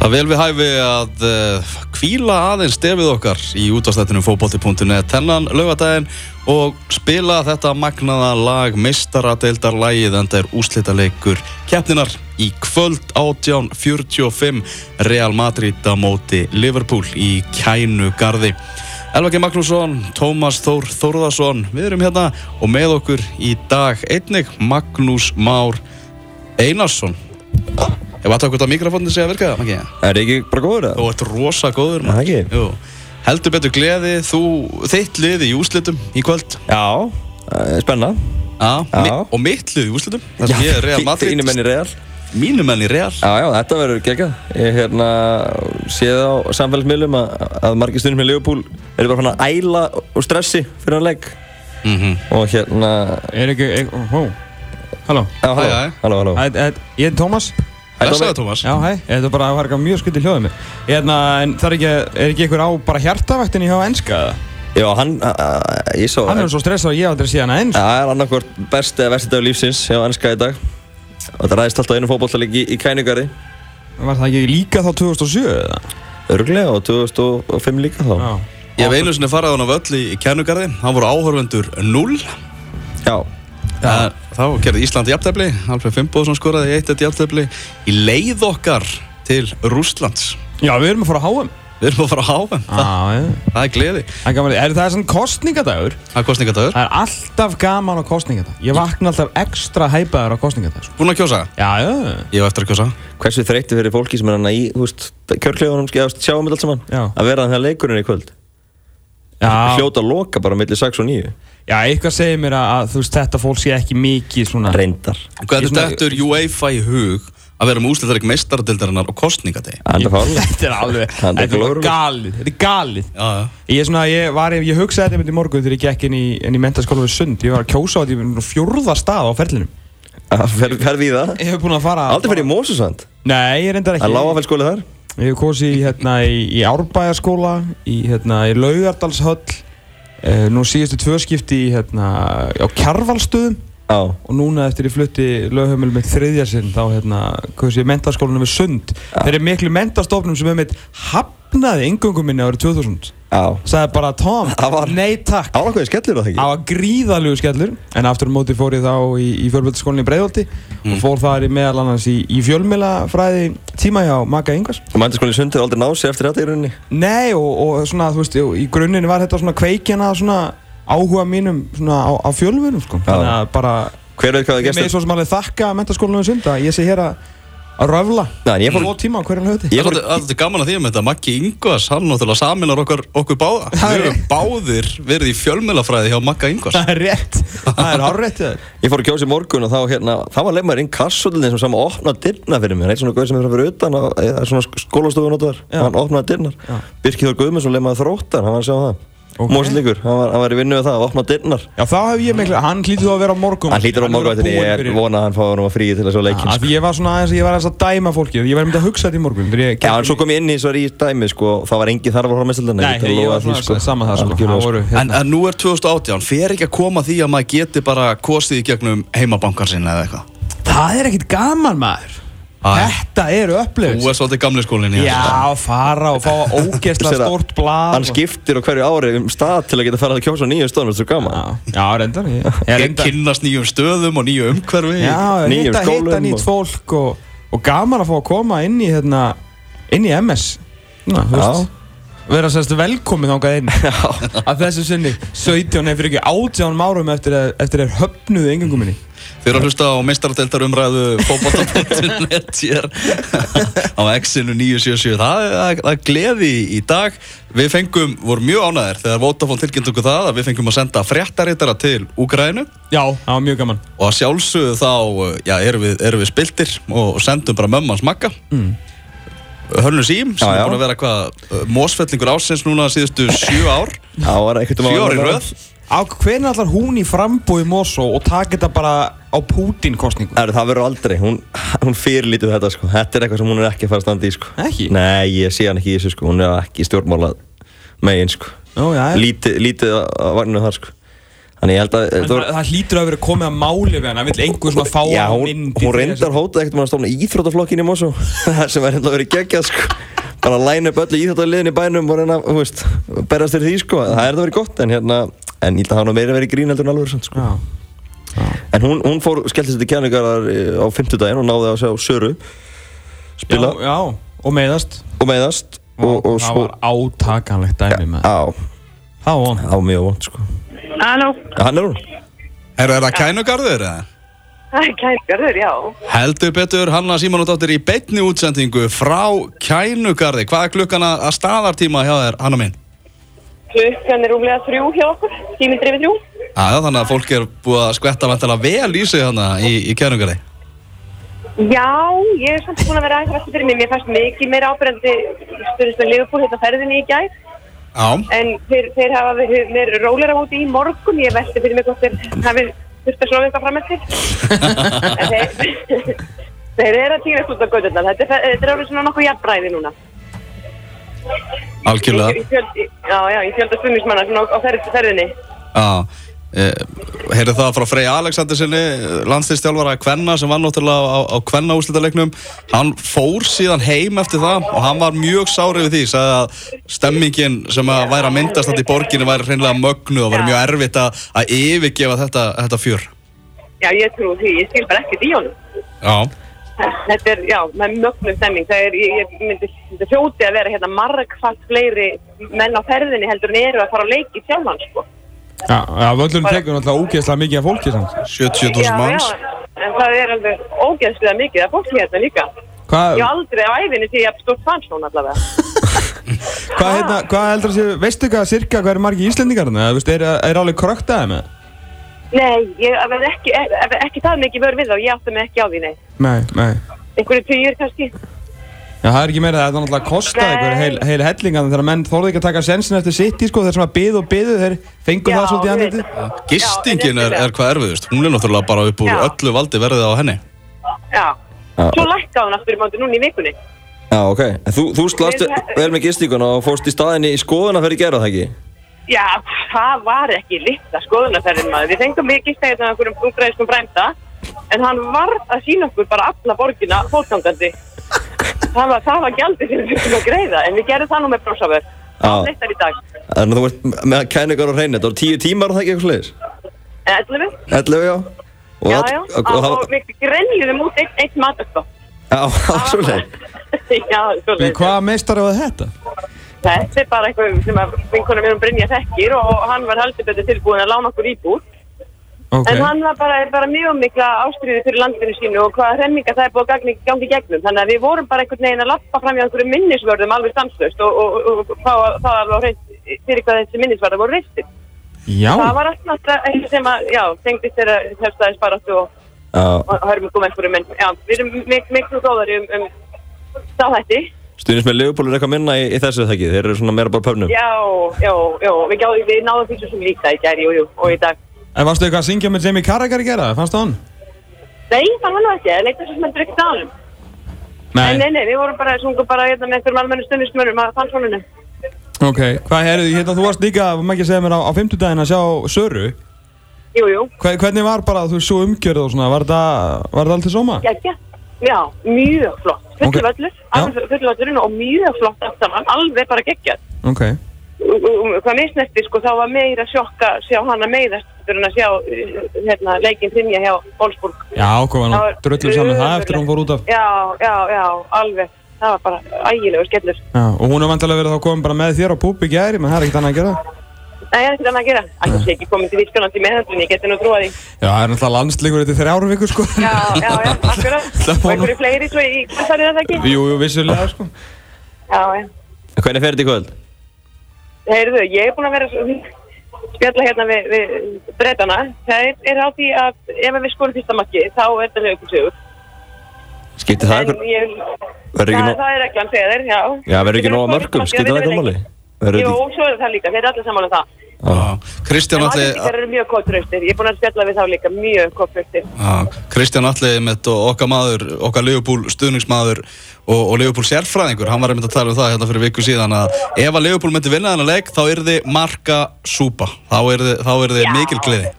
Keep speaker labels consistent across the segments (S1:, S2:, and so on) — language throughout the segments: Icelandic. S1: Það er vel við hæfi að uh, kvíla aðeins stefið okkar í útastættinu fótbolti.net hennan lögadaginn og spila þetta magnaða lag meistaradeildar lagið en það er úslitaleikur keppninar í kvöld 18.45 Real Madrid á móti Liverpool í Kænu Garði. Elvar G. Magnússon, Tómas Þór Þórðarsson, við erum hérna og með okkur í dag einnig Magnús Már Einarsson. Ef að takkum þetta mikrofónin sé að virka það, Maggi?
S2: Er ég ekki bara góður það?
S1: Þú ert rosa góður
S2: Er það
S1: maður.
S2: ekki?
S1: Jú. Heldur betur gleði, þú, þitt liði í úslitum í kvöld
S2: Já, eh, spenna
S1: Já,
S2: Já.
S1: mi og mitt liði í úslitum Það sem ég er Real Madrid
S2: Þínu menn í real
S1: Mínu menn í Real
S2: Já, já, þetta verður geggjað. Ég hérna séð á samfélagsmiðlum að, að margir stundum með Leopold eru bara fann að æla og stressi fyrir hann legg
S1: mm -hmm.
S2: og hérna
S3: Er ekki, er, hó, halló
S2: Já, halló,
S1: hæ.
S2: halló, halló
S3: Æ, æ, Ég er Tómas
S1: Blessaði Tómas
S3: Já, hei, þetta er bara að verka mjög skuldið hljóðið mig Hérna, en það er ekki, er ekki ykkur á bara hjartavættinni hjá enska eða?
S2: Já, hann, a- a- ég svo
S3: Hann er svo stressað að ég aldrei sé hana eins
S2: Já, Það er annarkvort besti eða versti dag lífsins hjá ennska í dag og það ræðist alltaf á einum fótballtalegi í, í kænugari
S3: Ah. Var það ekki líka þá 2007 eða? Sko.
S2: örglega og 2005 líka þá Já,
S1: Ég hef einu sinni farið á hann á völl í kennugarði Hann voru áhörfundur 0 Það- Eh, Þá gerði Ísland jafntefli Alfred Fimboðsson skoraði í eitt eitt jafntefli Í leið okkar til Rússlands
S3: Já, við erum að fara að háum
S1: Við erum að fara á HM
S2: Ah.
S1: Það,
S3: Ah, Já,
S1: það er gleði
S3: það er gaman Er það svona kostningadagur?
S1: Það er kostningadagur
S2: Ah.
S3: Það er alltaf gaman á kostningadag Ég vakna alltaf ekstra hæpaður á kostningadag sko.
S1: Búin að kjósa?
S3: Já, já
S1: Ég hef eftir að kjósa
S2: hversu þreytti fyrir fólki sem er hann í þú veist, kjörkleifunum, skjá, sjáum þetta allt saman
S3: Já.
S2: að vera þannig að leikurinn í kvöld
S3: Já,
S2: hljóta að loka bara millir 6 og 9
S3: já eitthvað segir mér að, að þú veist, þetta fólk sé ekki mikið svona
S2: reyndar
S1: Hvernig
S3: Ég svona-
S1: dettur UEFA í hug að vera með úslitarik meistardildarinnar og kostningadegi?
S2: Anda fála
S3: Þetta er alveg,
S2: Hann er
S3: þetta er bara
S2: glórulaust.
S3: galið, þetta er galið
S1: Já, já.
S3: Ég, er svona, ég, var, ég hugsaði þetta einmitt í morgun þegar ég gekk inn í, inn í mentaskóla við sund Ég var að kjósa á þetta, ég var fjórða stað á ferlinum
S2: fer, fer við það
S3: Ég hef búin að fara
S2: aldrei fer í Mósusand
S3: Nei, ég reyndar ekki
S2: að lága skóli þar
S3: Ég hef kosið í, hérna, í, í Árbæðaskóla, í, hérna, í Laugardalshöll eh, Nú síðustu tvö skipti í, hérna, á Kjarvalstöðum
S2: á
S3: Og núna eftir ég flutti lögheimil með þriðja sinn Þá hérna, kosið ég mentaskólanum við sund Þeir eru miklu mentastofnum sem einmitt hafnaði yngöngum minni árið 2000
S2: á
S3: sagði bara Tom,
S2: Það var-
S3: nei takk
S2: álakoði skellur á það ekki
S3: Það var gríðalegu skellur en aftur á móti fór ég þá í, í fjölmjöldaskólinni í Breiðolti og fór þar í meðal annars í, í fjölmjölafræði tíma hjá Magga Ingvars
S2: og mæntaskóli sund hefur aldrei náð sér eftir þetta í rauninni
S3: Nei og, og svona þú veist og í grunninn var þetta svona kveikjana svona áhuga mínum svona á, á fjölmjölum sko
S2: Já.
S3: þannig að bara
S2: hver veit hvað það
S3: ég með
S2: gerst
S3: svo sem alveg þakka mentaskólinni um sunda ég sé hér að að röfla
S2: Nei, en ég fór-
S3: Tvo tíma á hverjum hluti
S2: Ég
S1: Það
S2: fór-
S1: er alltaf gaman að því um þetta, Maggi Ingvars, hann náttúrulega saminar okkur, okkur báða. Við
S3: Það er-
S1: erum báðir verið í fjölmjölafræði hjá Magga Ingvars.
S3: Það er rétt Það er hárrétt hjá þér.
S2: ég fór að kjósa í morgun og þá hérna þá var leifmaður inn kassutildin sem saman opna dyrna fyrir mér eitt svona gauð sem er frá fyrir utan á- eða svona skólastofu notaðar
S3: Já.
S2: og hann opnaði dyrnar
S3: Já.
S2: Birkið Þór Guðmundsson leifmaður þróttan hann var að sjá það
S3: Ok.
S2: okay. Mósleikur hann var, hann var í vinnu við það opna dyrnar
S3: Já, þá hef ég miklu, hann hlýtur þá að Ah, vera á morgun
S2: hann hlýtur á morgun
S3: hefur
S2: eftir ég er
S3: verið búinn fyrir-
S2: vona að hann fáið hann frí til að sjá leikin
S3: Af því ég var svona aðeins, ég var aðeins að dæma fólkið Ég var einmitt að hugsa þetta í morgun þegar ég
S2: Já,
S3: gekk
S2: en svo kom ég inn í svo í dæmi, sko, það var engin þarf að horfa mestaldan
S3: Nei, ég var svona sko, saman það sko Það voru,
S1: En,
S3: hérna,
S1: en nú er 2018, fer ekki að koma því að maður geti bara kosið í gegnum heimabankan sinna eða eitthvað.
S3: Það er ekkit gaman maður
S1: Æ.
S3: Þetta eru upplifis
S1: Þú er svolítið gamli skólinni.
S3: Já, fara og fá ógeðsla stórt blað
S2: Hann
S3: og-
S2: skiptir á hverju ári um stað til að geta farið að kjósa á nýju stóðum, þetta er svo
S3: Já,
S2: gaman
S3: já, reyndar Ég, ég
S1: Ég
S3: reyndar
S1: kynnast nýjum stöðum og nýju umhverfi.
S3: Já,
S2: nýjum
S3: hitta,
S2: skólum
S3: hitta
S2: og-
S3: nýtt fólk og, og gaman að fá að koma inn í, hérna, inn í MS Ná, þú
S2: Já.
S3: veist vera sérst velkomið þangað inn að þessu sinni 17 eftir ekki 18 márum eftir að, eftir að höfnuðu engungum minni
S1: Þeir eru að hlusta á meistaradeildar umræðu fókbalta.net hér á X-inu 977 það, er- það, er- það er gleði í dag Við fengum, vorum mjög ánæðir þegar Vodafone tilkynnt okkur það að við fengum að senda fréttarittara til Úgrænu
S3: Já, það var mjög gaman
S1: og að sjálfsögðu þá já, erum, við, erum við spiltir og sendum bara mömmans makka mm. Hörnur Sím sem
S2: Já,
S1: er
S2: já.
S1: búin að vera hvað mósfellingur ásins núna síðustu sjö ár
S2: Það var ekkert um
S1: sjö ár í röð
S3: Á hvernig allar hún í frambúi Mosó og taka þetta bara á Pútin kostningu?
S2: Er, það verður aldrei, hún, hún fyrirlítur þetta sko Þetta er eitthvað sem hún er ekki að fara að standa í sko
S3: Ekki?
S2: Nei, ég sé hann ekki í þessu sko, hún er ekki stjórnmála megin sko
S3: Ó, já, já.
S2: Lítið, lítið að vagnum þar sko Þannig ég held að
S3: En
S2: þetta
S3: það, það hlýtur að vera komið að máli við hann, hann vil einhver svona fá
S2: Já,
S3: hann
S2: hún,
S3: inn í
S2: hún
S3: þriðja
S2: reyndar
S3: sæti.
S2: hótað ekkert um að stofna íþróttaflokkin í Mosó sem er hérna verið geggjað sko bara að læna upp öllu íþróttaliðin í bænum og reyna, þú veist, berast þér því sko það er það verið gott en hérna en ég held að hann meira verið grín heldur en alveg sann sko
S3: Já,
S2: en hún, hún fór, skellti sér til kjæningarar á fimmtudaginn og náði að sjá Söru
S3: já,
S2: spila
S3: já, og meiðast
S2: og meiðast og, og
S3: Það
S2: svo
S3: var átakanlegt dæmi með
S2: á,
S3: Það var hann
S2: á mjög vond sko
S4: Halló,
S2: hann er hún
S1: Herru, er það kænugarður eða?
S4: kælgarður, já.
S1: Heldur betur Hanna Símonóttir í beinni útsendingu frá kænugarði. Hvað er klukkan að að staðartíma hjá þér, Hanna mín?
S4: Klukkan er rúmlega þrjú hjá okkur, tími drifið þrjú.
S1: Aða, þannig að fólk er búið að skvetta vantilega vel í sig hana í, í kænugarði.
S4: Já, ég er samt búin að vera aðeins rætti fyrir mig. Mér fannst mikið meira ábyrgandi stundist með Liverpool hérna á ferðinni í gær.
S1: Já.
S4: En þeir, þeir hafa verið með rólera úti í morgun. Ég velti fyrir mig hvort þeir hafi þurft að slóða eitthvað fram eftir. En þeir, þeir eru að týra út á gauturnar. Þetta, er- þetta er alveg svona nokkuð jafnbræði núna. Í-
S1: Algjörlega.
S4: í fjöldi- Já, já, ég fjölda stundinsmanna svona á, á ferð, ferðinni.
S1: Já. eh, Heyrðu það frá Frey Alexandersinni, landslýstjálfara Kvenna sem var náttúrulega á, á Kvenna úslítalegnum. Hann fór síðan heim eftir það og hann var mjög sárið við því. Sagði að stemmingin sem að væri að myndast þetta í borginni væri hreinlega mögnu og væri mjög erfitt að, að yfirgefa þetta, þetta fjör.
S4: Já, ég trú því. Ég skil bara ekkert í honum.
S1: Já.
S4: Þetta er, já, með mögnum stemming. Það er, ég, ég myndi, myndi hljóti að vera hérna margfalt fleiri menn á ferðinni heldur en eru að fara á leiki sjálfan, sko.
S3: Já, já völlurinn tekur náttúrulega ógeðslega mikið af fólki samt
S1: 70.000 manns.
S4: en það er alveg ógeðslega mikið að fólki hérna líka.
S3: Hvað
S4: Ég hef aldrei á æfinni því ég hef stórt fann svona allavega.
S3: hva, hérna, hva heldur þessi, veistu hvað cirka hvað eru margir íslendingarna? Eða, veistu, er, er alveg krökt aðeim?
S4: Nei, ég hef ekki, ef- ef ekki það mikið vör við þá, ég átti mig ekki á því, nei.
S3: Nei, nei
S4: Einhverju tugir kannski.
S3: Já, það er ekki meira það, það er náttúrulega kostað
S4: Nei.
S3: einhver heil, heil hellingan þegar menn þorðu ekki að taka sensin eftir sitt í sko þeir sem að byðu og byðu þeir fengur
S4: Já,
S3: það svolítið í
S4: ég veit
S3: andliti
S4: það.
S1: Gistingin
S4: Já,
S1: er,
S4: réttilega.
S1: er hvað erfiðust. Hún er náttúrulega bara upp úr
S4: Já.
S1: öllu valdi verðið á henni.
S4: Já.
S2: Já.
S4: Svo lækkaði hún aftur í mátu núna í vikunni.
S2: já ok En þú, þú slast vel með gistíkun og fórst í staðinni í skoðuna fyrir gera það ekki
S4: Já, það var ekki litla skoðunarferðin maður. Við fengum við gista hérna á einhverjum ungraðiskum brænda en hann var að sína okkur bara alla borgina fólkangandi. Það var, það var gjaldið sem við þurfum að greiða en við gerðum það nú með brósaför.
S2: Já.
S4: Neittar í dag.
S2: Þannig að þú ert með kæningar á hreinu, þetta voru tíu tímar og það ekki eitthvað sliðis?
S4: Ætlum við?
S2: 11, já. Og
S4: Eh, Já,
S2: það-
S4: já.
S2: Og, og,
S4: Og
S2: og,
S4: við grenjuðum út eitt, eitt matastof.
S2: já, já, svo leið.
S4: Já, svo
S3: Býðu, hvað meistar á þetta?
S4: Þetta er bara eitthvað sem að vinkunum mér um Brynja þekkir og hann var heldur betur tilbúin að lána okkur íbúr.
S3: Ok,
S4: En hann var bara, bara mjög mikla ástriði fyrir landinu sínu og hvaða hremminga það er búið að gangi, gangi í gegnum. Þannig að við vorum bara einhvern veginn að lappa fram í einhverjum minnisvörðum alveg stanslöst og, og, og, og fá að- það alveg á hreint fyrir hvað þessi minnisvörðar voru reistir.
S3: já,
S4: Það var alltaf alltaf eitthvað sem að, já, tengdist þeirra hefstæðis bara og,
S2: Já,
S4: og hörmingum einhverjum. En já, við erum mik- miklu góðari um, um stáhætti.
S2: stuðnins með Leopold er eitthvað minna í, í þessu það ekki, þeir eru svona meira bara pöfnum.
S4: Já, já, já, við, gjá, við náðum því svo sem líka í gæri, jú, jú, og í dag.
S3: en varstu eitthvað að syngja með Jamie Carragher í gera? Fannst það hann?
S4: Nei, það var nú ekki, það leita svo sem að drukta á hann. Nei, nei, nei, við vorum bara, sungum bara hérna með einhverjum almennu stundismönnum að fannsóninu.
S3: Ok, hvað er hérna, þú varst líka, maður ekki að segja mér á, á fimmtudaginn að sjá Söru
S4: Jú, jú,
S3: Hve, Hvernig var bara, þú veist, svo umgjörð og svona, var það, var það allt til sóma?
S4: geggja. Já, mjög flott. Fullu
S3: Ok.
S4: völlur, alveg fullu völlurinn og mjög flott allt saman, alveg bara geggja.
S3: Ok,
S4: Hvað misnesti, sko, þá var meira sjokka sjá hana meiðast fyrir að sjá uh, hérna, leikinn þinja hjá Wolfsburg.
S3: já, hvað var
S4: Það
S3: hann
S4: var
S3: drullur saman það eftir að hún fór út af
S4: Já, já, já, alveg. Það var bara ægilegur skellur.
S3: Já, og hún er vantilega verið þá komin bara með þér á púb í gæri, menn það er ekkert annað að gera
S4: Nei, ég er ekkert annað að gera. Alltaf sé ekki komin til vitskjónandi meðhandlinni, ég geti nú trúað því.
S3: Já, það er náttúrulega landsleikur þetta þrjára vikur sko
S4: Já, já, já, akkurat.
S3: Það
S4: Og
S3: var nú-
S4: einhverju fleiri svo í kvassarið að það ekki?
S3: Jú, jú, vissulega sko
S4: Já, já.
S2: Hvernig fer þetta í kvöld?
S4: Heyrðu, ég er búin að vera svo- spjalla hérna við, við breytana. Það er, er á því að ef við skorum fyrsta makki, þá er þetta lögumsugur.
S2: Skiptir það eitthvað?
S4: ég...
S2: Verður ekki
S4: það,
S2: nóg-
S4: það er reglan, segir þeir, já.
S2: Já, verður ekki
S4: Við
S2: nóg að mörgum,
S4: skorum fyrsta markið,
S2: skiptir það
S4: vinnum
S2: eitthvað
S4: við
S2: máli?
S4: leikinn.
S2: Verður
S4: Jú,
S2: þetta ekki?
S4: svo er það líka, þeir eru allir sammála um það.
S1: Já. Kristján
S4: En
S1: Atli
S4: aðeinsíkar eru mjög kótraustir, ég er búin að spjalla við þá líka mjög kótraustir.
S1: Já, Kristján Atli með okkar maður, okkar Leopold stuðningsmaður og, og Leopold sérfræðingur hann var einmitt að tala um það hérna fyrir viku síðan að ef að Leopold myndi vinna þennan leik þá er þið marka súpa þá er þið
S4: Já.
S1: mikil gleði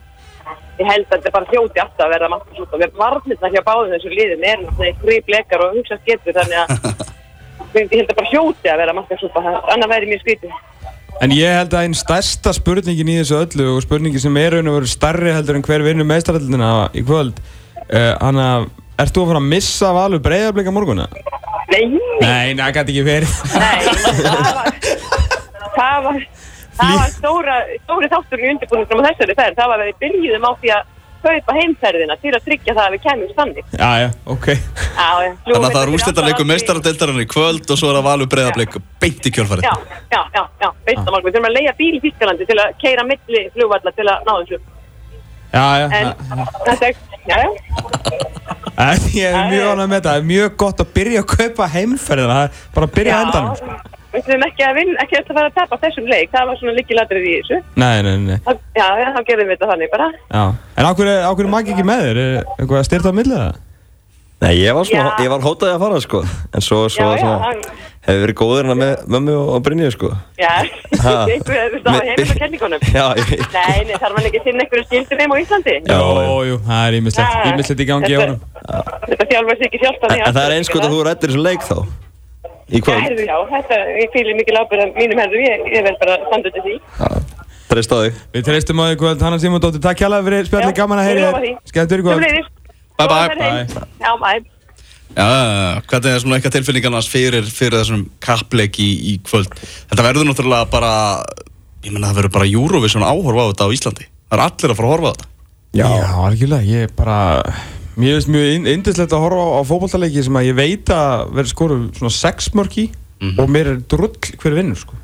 S4: Ég held að þetta bara hljóti alltaf að verða margt slúta. Við varnirna hjá báðum þessu liðin er náttúrulega grípleikar og hugsa getur þannig að ég held að bara hljóti að verða margt slúta. Annað væri mjög skrítið.
S3: En ég held að einn stærsta spurningin í þessu öllu og spurningi sem er raun og veru starri heldur en hver vinnur meistarallina í kvöld uh, hann að, ert þú að fara að missa valur breyðarbleika morgunna?
S4: Nei,
S3: Nei, það gæti ekki verið
S4: nei, það var, það var, það var stóra, stóri þátturinn í undirbúinum á þessari ferð. Það var að við byrjuðum á því að kaupa heimferðina til að tryggja það að við kemum standið.
S3: Já, já, ok
S1: þannig að það er úrslitaleikum meistaradeildarinnar í kvöld og svo er að valur breyðablik beint í kjölfarið
S4: Já, já, já, já, veist það málgum. Við þurfum að leiða bíl í Þýskalandi til að keira milli flugvalla til að ná þessu.
S3: Já, já,
S4: En
S3: en,
S4: þetta er, já, já,
S3: en ég er mjög
S4: Já, já.
S3: ánægð með þetta það er mjög gott að byrja að kaupa heimferðina það er bara að byrja að endanum sko.
S4: já. Við þurfum ekki að vinna, ekki að fara að tapa þessum leik. Það var svona líkilatrið í þessu.
S3: Nei, nei, nei, nei.
S4: Það- Já, já, þá gerðum við þetta þannig bara.
S3: já En á hverju, á hverju magi ekki með þér? Er eitthvað að styrta á millið það?
S2: Nei, ég var, svona,
S4: Já.
S2: ég var hótaði að fara sko En svo, svo,
S4: Já, já,
S2: svona,
S4: hann-
S2: hefur verið góður hérna með mömmu og, og Brynju sko
S4: Já,
S2: Ha.
S4: einhverju, þú veist, á
S2: Mi-
S4: heimil og hérna kenningunum.
S2: Já, ég-
S4: Nei, nei, þarf hann ekki að sinna einhverju skildum heim á Íslandi?
S2: Já,
S3: Jó, jú, það er ímislegt,
S4: Já.
S3: ímislegt í gangi á
S4: Þetta-
S3: honum
S4: Þetta þjálfar sig ekki sjálft að
S2: En, en það er eins gott að þú rættir þessu leik þá Í
S4: Já,
S2: kvöld
S4: heyrðu, já, þetta, ég fýlir mikil ábyrðan mínum herðu, ég, ég verð bara að standa til því.
S2: Treyst á þig
S3: Við treystum á því kvöld, Hanna Simondóttir, takk hérlega fyrir spjallið,
S4: Já,
S3: gaman að
S4: ég lofa
S3: heyri
S4: því.
S3: Skemmt ykkur kvöld
S4: Sömuleiðis.
S1: Bye, bye.
S4: Góða ferð heim.
S3: Bye.
S4: Já, bye.
S1: Já, hvernig er svona eitthvað tilfinningarnas fyrir, fyrir þessum kappleik í, í kvöld þetta verður náttúrulega bara ég menna það verður bara Eurovision áhorfa á þetta á Íslandi það er allir að fara að horfa á þetta
S3: Já, algjörlega, ég er bara Mér finnst mjög inn- yndislegt að horfa á, á fótboltaleiki sem að ég veit að verður skoru svona sex mörk í
S2: Mhm.
S3: og mér er drull hver vinnur sko.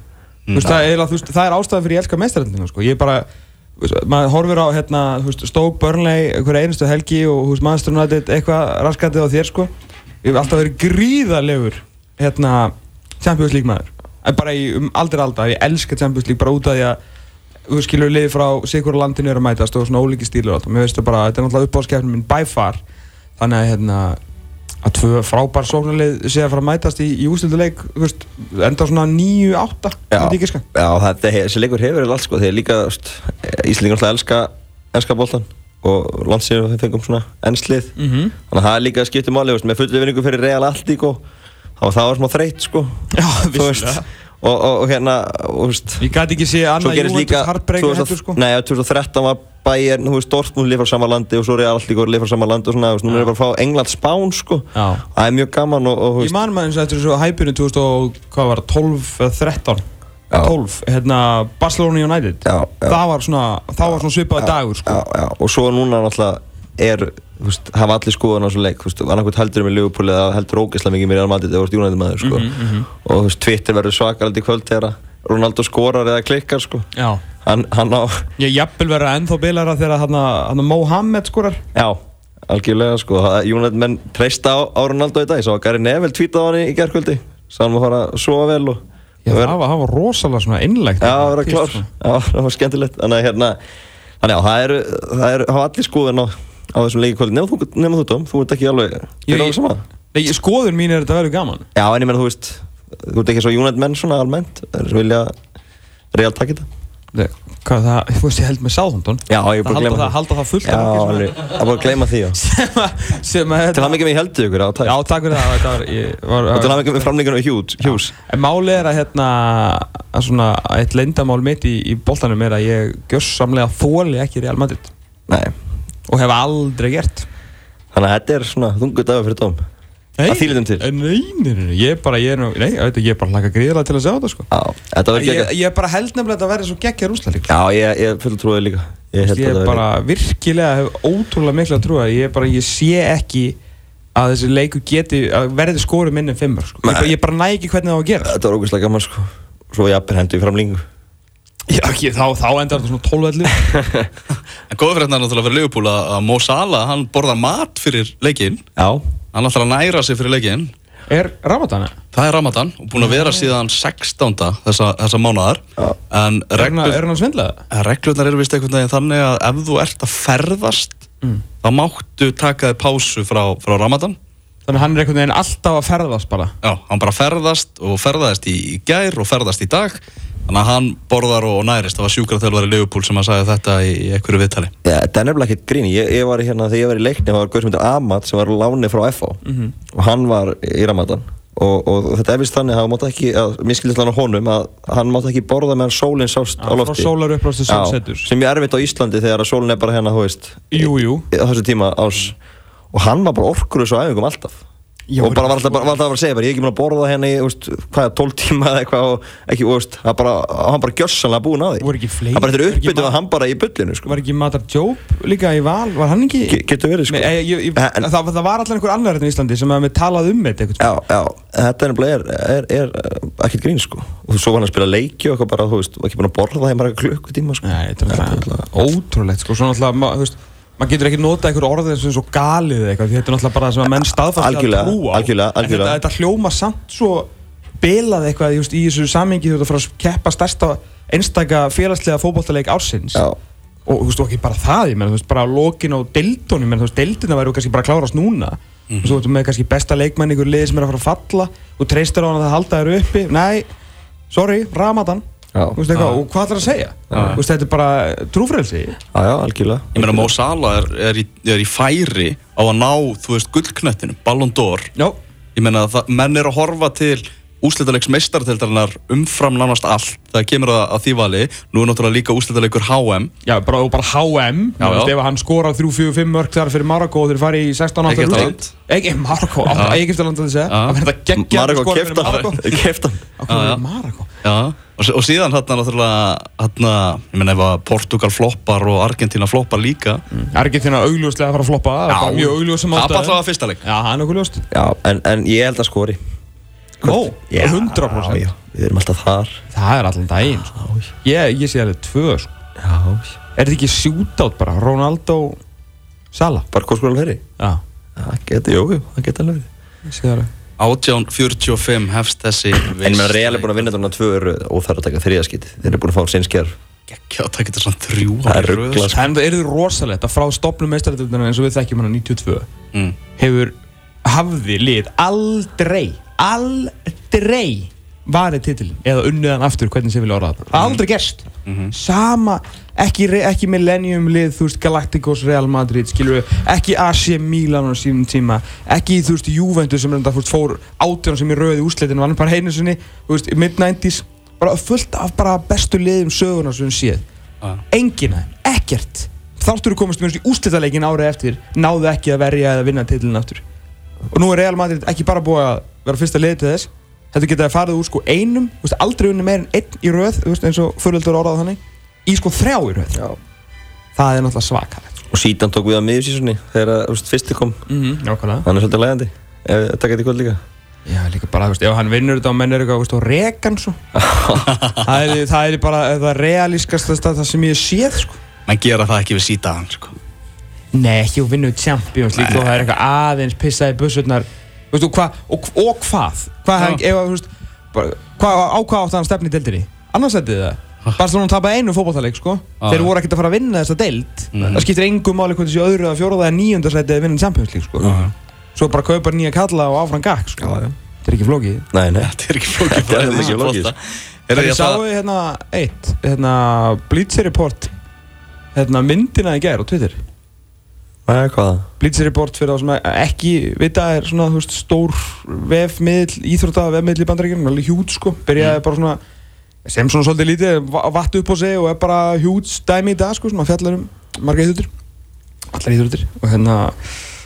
S3: mm veist, það, er, eiginlega, þú veist, það er ástæðan fyrir ég elska meistaröndina sko. ég er bara þú veist, maður horfir á hérna, þú veist, Stoke, Burnley, hverja einustu helgi og þú veist, Manchester United, eitthvað raskandið á þér sko. ég hef alltaf verið gríðarlegur hérna, Champions League maður En bara í, um aldrei aldar, ég elska Champions League bara út af því að þú skilur liði frá sigur landinu er að mætast og svona ólíki stílur og allt. mér veist það bara, þetta er náttúrulega uppáðskeppnum minn by far þannig að hérna að tvö frábær sóknarlið sé að fara að mætast í, í ústilduleik, þú veist, enda svona 9-8, myndi ég sko. giska.
S2: já það, það, þessi leikur hefur verið allt sko Þegar líka Íslingar alltaf elska, elska boltan Og landsinu þegar fengum svona ennslið
S3: Mhm.
S2: Þannig að það er líka skipti máli þú veist, Með fullu vinningu fyrir Real Alltíko Það var það var smá þreytt sko
S3: Já,
S2: Þú veist,
S3: vissulega.
S2: og, og, og hérna og, þú veist,
S3: Ég gæti ekki sé
S2: Svo
S3: annað
S2: gerist líka
S3: Júventus hardbreyka
S2: 2000
S3: heldur sko.
S2: Nei, já, 2013 var Bayern, þú veist, Dortmund lið frá sama landi og svo Real alltaf lið frá sama landi og svona, þú veist, núna er bara að fá England Spán, sko
S3: Já.
S2: Það er mjög gaman og, og þú
S3: Ég man maður eins og eftir þessu hæpinu 2000 og hvað var, 12 eða 13
S2: Já.
S3: 12, hérna Barcelona United
S2: Já, já.
S3: það var svona, það var svona svipaði dagur sko.
S2: já, já, og svo núna náttúrulega er, þú veist, hafa allir skoðan á svo leik, þú veist, annarkvæmt heldur með Liverpool eða heldur ógeðslega mikið mér í Almadið eða þú veist, United maður, sko
S3: Mhm,
S2: og þú veist, Twitter verður svakalandi í kvöld þegar Ronaldo skorar eða klikkar, sko
S3: Já,
S2: hann, hann á,
S3: ég jafnvel vera ennþá bilara þegar hann að Mohamed skorar
S2: já, algjörlega, sko það- United menn treysta á, á Ronaldo í dag, ég sá að Gary Neville tweetað á hann í gerkvöldi sá hann að fara að sofa vel og
S3: Já,
S2: og vera-
S3: það var, sko. það var rosalega svona innlegt
S2: Já, að vera
S3: Fyrst
S2: klár,
S3: svona.
S2: já, það var skemmtilegt Þannig að hérna, þannig að það eru, það eru, hafa allir skoðin á, á þessum leiki kvöld Nefnum þú, nefnum þú Dóm, þú ert ekki alveg,
S3: Jú,
S2: þú ert
S3: ég-
S2: alveg sama
S3: Nei, ég- skoðun mín er þetta verður gaman
S2: Já, en ég menn þú veist, þú ert ekki svo United menn svona almennt Það er vilja real takk þetta
S3: Nei, Hvað það, þú veist ég held með Southampton
S2: Já, ég er búin
S3: Það
S2: að
S3: halda
S2: gleyma
S3: það, halda það fullt
S2: Já,
S3: af fólki sem-
S2: alveg, það er búin að gleyma því, já
S3: sem að, sem að
S2: Til hann ekki með heldur ykkur á tæk
S3: Já, takk fyrir það, þetta var, ég var
S2: Og til hann ekki með framlíkanu Hughes, Hughes
S3: En máli er að hérna að svona, eitt leyndamál mitt í, í boltanum er að ég gjörsamlega þóli ekki Real Madrid
S2: Nei,
S3: og hef aldrei gert
S2: þannig að þetta er svona þungu dagur fyrir Dóm Að því litum til.
S3: Eh, Nei, nei, nei, nei, ég er bara, ég er nú, nei, ég veit ekki, ég er bara hlaka gríðarlega til að sjá þetta sko
S2: Já, þetta Ah, verður
S3: Ég,
S2: ekki
S3: ég er bara held nefnilega að þetta verði svo geggja rúslega líka
S2: Já, ég, ég fullur trúið líka Ég held
S3: Ég
S2: að
S3: er
S2: þetta verður
S3: bara virkilega hef ótrúlega miklu að trúa Ég er bara, ég sé ekki að þessi leiku geti að verði skoru minn en fimmur sko. ég, bara- ég bara næ ekki hvernig það á að gera
S2: Þetta var ógeðslega gaman, sko Svo jafnir hendur í framlíkingu
S3: Já, ekki, þá, þá endar þetta svona 12 ellu
S1: en góður fyrir þetta náttúrulega fyrir Leopold að að Mo Salah hann borðar mat fyrir leikinn
S2: Já,
S1: hann ætlar að næra sig fyrir leikinn
S3: er ramadana
S1: Það er Ramadan og búin að vera síðan 16. þessa, þessa mánuðar en
S3: Er hann
S1: reglur,
S3: að- er hann að svindlaða?
S1: en reglurnar eru vist einhvern veginn þannig að ef þú ert að ferðast þá máttu taka þig pásu frá, frá Ramadan
S3: Þannig að hann er einhvern veginn alltaf að ferðast bara
S1: Já, hann bara ferðast og ferðast í, í gær og ferðast í dag þannig að hann borðar og og nærist það var sjúkraþjálfari Leopold sem að sagði þetta í, í einhverju viðtali
S2: Já, þetta er nefnilega ekkert grín ég, ég var hérna, þegar ég var í leikni var Guðsmundur Amat sem var lánið frá FH
S3: Mhm.
S2: og hann var í Ramadan og, og þetta er vist þannig að hann mátt ekki að minnskildislega honum að hann mátt ekki borða meðan sólinn sást
S3: Já,
S2: á
S3: frá
S2: lofti
S3: sólarupprás til
S2: Já,
S3: sólseturs.
S2: sem er erfitt á Íslandi þegar að sólinn er bara hérna, þú veist
S3: Jú, jú
S2: á þessu tíma ás og hann var bara orkur þessu æfingum alltaf
S3: Já,
S2: og bara var
S3: sko.
S2: alltaf, bara, var alltaf að segja bara, ég er ekki mun að borða hérna í, úst, hvað, 12 tíma eða eitthvað og ekki, og, úst, hann bara, hann bara gjössanlega búinn að því
S3: Voru ekki fleiri?
S2: hann bara
S3: Voru
S2: þetta
S3: ekki
S2: uppbyttu
S3: marg-
S2: að hann bara í bullinu sko.
S3: Var ekki Matar Job líka í val? Var hann ekki?
S2: Ge- getur verið, sko.
S3: Nei, ég, ég, ég,
S2: En-
S3: það, það var allan einhver annar hérna í Íslandi sem að við talað um þetta einhvern
S2: Já, já, þetta er nefnilega er, er, er eh, ekkert grín sko og svo var hann að spila leiki og eitthvað bara, þú veist, var ekki búin að borða það í marga klukkutíma sko
S3: Nei, þetta er
S2: náttúrulega-
S3: náttúrulega ótrúlegt sko, svona náttúrulega, ma- þú veist, maður getur ekki notað einhver orðið eins og svo galið eða eitthvað, því þetta er náttúrulega bara það sem að menn staðfæst
S2: Algjörlega,
S3: að trúa á.
S2: algjörlega,
S3: En
S2: algjörlega.
S3: Þetta, þetta hljóma samt svo bilað eitthvað, þú veist, í þessu samingi þú veist, að fara að keppa stærsta einstaka félagslega fótboltaleik ársins.
S2: Já.
S3: Og þú veist, og ekki bara það, ég menn, þú veist, bara lokin á deildunum, ég menn, þú veist, deildina væru kannski bara að klárast núna. Mm -hmm. Þú veist, með kannski besta leikmann í einhver liði sem er að fara að falla, þú treystir á hann að það halda þér uppi, nei, sorry, ramadan,
S2: Já.
S3: þú veist eitthvað, og hvað ætlar að segja? Þú veist, þetta er bara trúfrelsi.
S2: Já, já, algjörlega
S1: Ég meina Mo Salah er, er, í, er í færi á að ná, þú veist, gullknöttinu Ballon d'Or
S3: Já.
S1: Ég meina að það- menn eru að horfa til úslitaleiks meistartildarinnar umfram nánast allt það kemur að, að því vali nú er náttúrulega líka úslitaleikur HM
S3: Já, bara, og bara HM,
S1: Já,
S3: þú veist,
S1: já.
S3: ef hann skorar 3-4-5 mörg þar fyrir Marokko og þeir fari í 16 áttar
S1: Egyptaland.
S3: Ekki, Marokko, átta- Egyptaland að segja.
S1: Já.
S3: Það verður þetta geggja
S2: Marga
S3: hérna,
S2: keftan, keftan
S3: Akkur verður Marokko.
S1: Já, og, s- og síðan þarna náttúrulega þarna, ég meina ef að Portugal floppar og Argentina floppar líka
S3: Argentina augljóslega að fara að floppa, það er bara mjög augljós sem
S2: eh?
S1: Það er bara allavega fyrsta leik
S3: Já, það er nokkuð ljóst.
S2: Já, en, en ég held að skori
S3: Ó,
S2: Já,
S3: 100%.
S2: já, Við erum alltaf þar
S3: Það er allan daginn, sko. Ég, ég sé alveg tvö, sko.
S2: Já,
S3: Er þetta ekki shootout bara? Ronaldo, Sala?
S2: bara hvort skor alveg heri
S3: Já,
S2: Það geta, jú, jú, það geta alveg verið.
S3: ég sé það alveg.
S1: 18.45 hefst þessi
S2: En ég meina, Real er búin að vinna þarna tvö eru og þarf að taka þriðaskit Þeir eru búin að fá sinnskjær
S1: Já, það getur svona þrjú
S2: Það
S1: ár
S2: er
S1: í röð,
S2: ruglað,
S1: sko.
S3: Það er enda- yrði rosalegt að frá stopnum meistaröldunum eins og við þekkjum hann á 92
S1: Mm.
S3: hefur hafði lið aldrei, aldrei varið titilin eða unnið hann aftur hvernig sem vilja orða það aldrei gerst, sama ekki, re- ekki Millennium lið, þú veist Galacticos Real Madrid, skilur við ekki AC Milan á sínum tíma ekki þú veist Juventus sem reynda veist, fór átján sem í röði úrslitin var bara heinu sinni, þú veist, mid-90s bara fullt af bara bestu liðum söguna sem við séð
S1: Já.
S3: enginn af þeim, ekkert þáttur komast mjög í úslitaleikin árið eftir náðu ekki að verja eða vinna titilin aftur og nú er Real Madrid ekki bara búið að vera fyrsta liðið til þess þetta geta farið úr sko einum þú veist, aldrei unni meir en einn í röð þú veist, eins og fyriröldur orðað þannig í sko þrjá í röð
S2: Já.
S3: það er náttúrulega svakalegt
S2: Og sítan tók við að miðjusísunni Þegar, þú veist, fyrsti kom
S3: nákvæmlega
S2: Hann er svolítið lægandi Ef- Takk þetta í kvöld líka
S3: Já, líka bara, þú veist, ef hann vinnur þetta og menn er eitthvað, þú veist, og rekan svo það, er, það er bara það realískast það sem ég séð, sko
S1: Menn gera það ekki við sítaðan sko.
S3: Nei, ekki og vinnum við Champions League og það er eitthvað aðeins pissaði bussurnar Veistu, og hvað, og, og hvað? Hvað, hef, ef, að, þú veist, bara, hvað á hvað átti hann stefni í deildinni? Annars setið það Barcelona tapaði einu fótballtaleik, sko
S1: Já,
S3: Þeir
S1: já.
S3: voru ekkert að fara að vinna þessa deild
S1: Mhm.
S3: Það skiptir engu máli hvort þessi öðru eða fjóraða eða níunda setið að vinna Champions League, sko
S1: Ah.
S3: Svo bara kaupa nýja kalla og áfram gakk, sko
S2: Já, já.
S3: Þetta er ekki flókið
S2: Nei, nei
S1: Þetta er ekki flókið
S2: Þetta er
S1: bara
S2: ekki
S1: í
S2: flókið,
S1: bolta. Heyrðu,
S3: Þegar
S1: ég
S3: ég
S1: ætla-
S3: sáu hérna eitt, hérna Blitzer Report hérna myndina í gær á Twitter
S2: Nei, hvaða?
S3: Blitzer Report fyrir þá sem ekki vita er svona þú veist, stór vefmiðl, íþrótta vefmiðl í bandaríkjum, alveg hjút sko, byrjaði bara svona sem svona svolítið lítið, va- vatt upp á sig og er bara hjút dæmi í dag sko, svona fjallar um marga íþróttir, allar íþróttir og hérna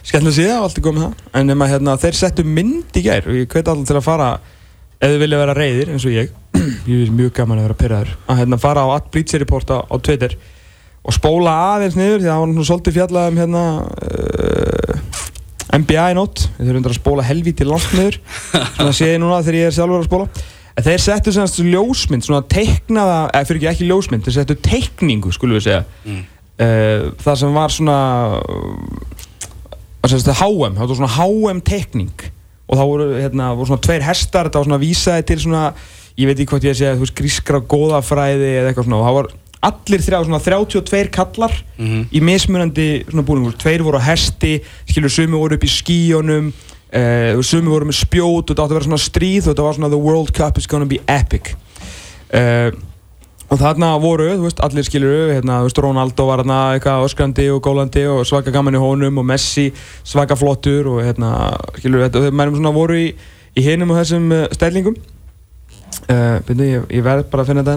S3: skemmtilega síða og allt er góð með það, en nema hérna þeir settu mynd í gær og ég hveti allir til að fara ef þið vilja vera reyðir eins og ég ég er mjög gaman að vera pyrraður að hérna fara á all Blitzer Report á, á Twitter og spóla aðeins niður því að það var nú svolítið fjallað um hérna uh, NBA í nótt við þurfum að spóla helvíti langt niður svona sé ég núna þegar ég er sjálfur að spóla en þeir settu semst ljósmynd svona teiknaða, eða fyrir ekki ekki ljósmynd þeir settu teikningu skulum við segja mm. það sem eh, var svona uh, sem sagt, HM, það var svona HM teikning og þá voru, hérna, voru svona tveir hestar þetta var svona vísaði til svona ég veit ekki hvort ég að segja, þú veist, grískra góðafræði eða eitthvað svona og það var allir þrjá svona 32 kallar
S1: mm.
S3: í mismunandi svona búningum, tveir voru á hesti skilur sumi voru upp í skíunum uh, sumi voru með spjót og þetta átti að vera svona stríð og þetta var svona the world cup is gonna be epic uh, Og þarna voru, þú veist, allir skilur hérna, þú veist, Ronaldo var hérna eitthvað öskrandi og gólandi og svaka gaman í honum og Messi svaka flottur og hérna, skilur, þetta, þeir mennum svona voru í, í hinum og þessum uh, stælingum uh, byrju, ég, ég verð bara að finna þetta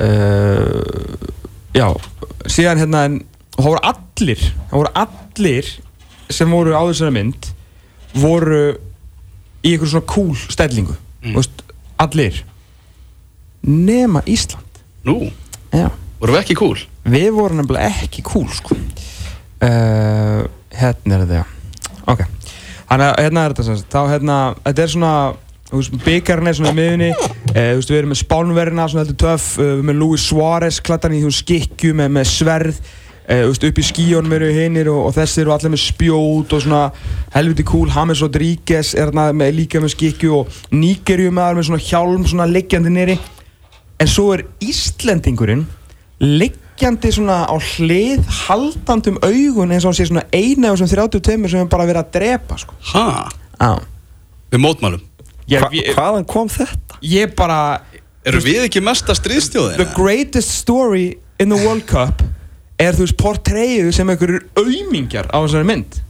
S3: hérna uh, já, síðan hérna en, og það voru allir, það voru allir sem voru á þessari mynd voru í einhverjum svona cool stælingu, þú veist, allir nema Ísland
S1: Nú,
S3: já.
S1: vorum við ekki cool?
S3: við vorum nefnilega ekki cool sko. uh, hérna er þetta já. ok Hanna, hérna er þetta sem sagt. þá hérna, þetta er svona þú veist, byggarinn er svona í miðunni uh, þú veist, við erum með Spánverina, svona heldur töff uh, við erum með Luis Suárez, klattan í þú skikju með, með sverð uh, þú veist, upp í skíjónum eru hinnir og, og þessir eru allir með spjót og svona helviti cool, James Rodríguez er hérna með, líka með skikju og Nígerjum með, með svona hjálm, svona leggjandi nýri En svo er Íslendingurinn liggjandi svona á hlið haldandum augun eins og hann sé svona eina af þessum 32 sem er bara verið að drepa sko.
S1: Ha?
S3: Já.
S1: Við mótmælum
S3: Ég,
S2: Hva,
S3: ég,
S2: hvaðan kom þetta?
S3: ég bara
S1: Eru við ekki mesta
S3: the
S1: stríðstjóðina?
S3: greatest story in the World Cup er þú veist portreyðu sem einhverjur auðmingjar á þessari mynd.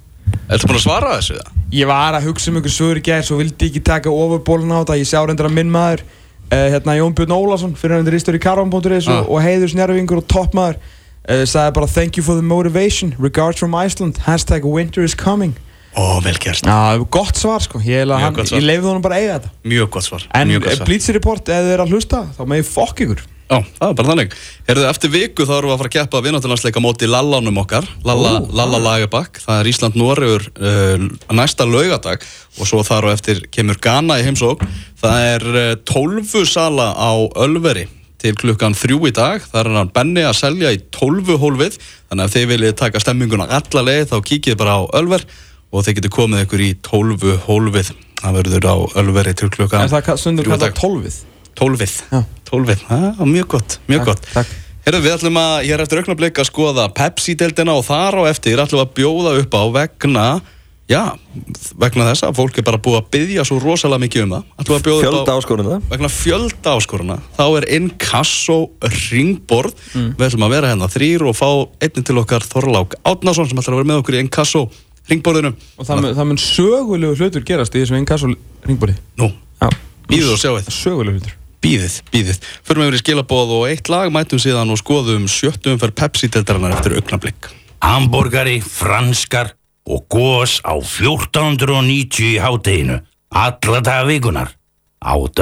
S1: Ertu búin að svara þessu það?
S3: Ég var að hugsa um einhver svör í gær svo vildi ég ekki taka overbólun á þetta ég sá reyndar að minn maður uh, hérna Jón Björn Ólafsson fyrir hann reistur í Karon.is
S1: Ah.
S3: og, og heiður snjárfingur og toppmaður uh, sagði bara thank you for the motivation regards from Iceland hashtag winter is coming
S1: Ó, vel gert
S3: Já, gott svar sko ég, eiginlega-
S1: Ah. Mjög
S3: hann,
S1: gott svar.
S3: ég leifði honum bara að eiga þetta
S1: Mjög gott svar
S3: en
S1: Mjög gott svar
S3: Blitz Report ef þið er að hlusta þá meði fokk ykkur
S1: Já, það er bara þannig Herðu, eftir viku þá erum við að fara að keppa vináttunlandsleika móti Lallanum okkar Lalla, Lalla Lagerbakk Það er Ísland-Noregur uh, næsta laugadag og svo þar og eftir kemur Ghana í heimsók Það er uh, tólfusala á Ölveri til klukkan þrjú í dag þar er hann Benni að selja í tólfuhólfið þannig að ef þið viljið taka stemminguna alla leið þá kíkið bara á Ölver og þið getur komið ykkur í tólfuhólfið Það verður á Ölveri til klukkan
S3: en það ka- stundum
S1: þrjú í
S3: kallar
S1: dag.
S3: tólfið
S1: Tólfið
S3: Já.
S1: Tólfið, já, mjög gott, mjög
S3: Takk,
S1: gott
S3: takk.
S1: Herru, við ætlum að, ég er eftir augnablik að skoða Pepsi-deldina og þar á eftir ætlum við að bjóða upp á vegna Já, vegna þess að fólk er bara búið að byggja svo rosalega mikið um það ætlum við að bjóða upp á
S2: Fjölda áskorun það?
S1: vegna fjölda áskoruna þá er inkasso ringborð
S3: Mm.
S1: við ætlum að vera hérna þrýr og fá einnig til okkar Þorlák Átnason sem ætlar að vera með okkur í inkasso ringborðinu
S3: og það, mun- það mun sögulegu hlutur gerast í þessum inkasso ringbóli
S1: Nú, býðu og sjáuð
S3: sögulegu hlutur
S1: Bíðið, bíðið. Förum yfir í skilaboð og eitt lag, mætum síðan og skoðum sjöttum fyrir Pepsi-deldarinnar eftir augnablikk.
S5: Hamburgari, franskar og gós á 1490 í hátteginu alla daga vikunar á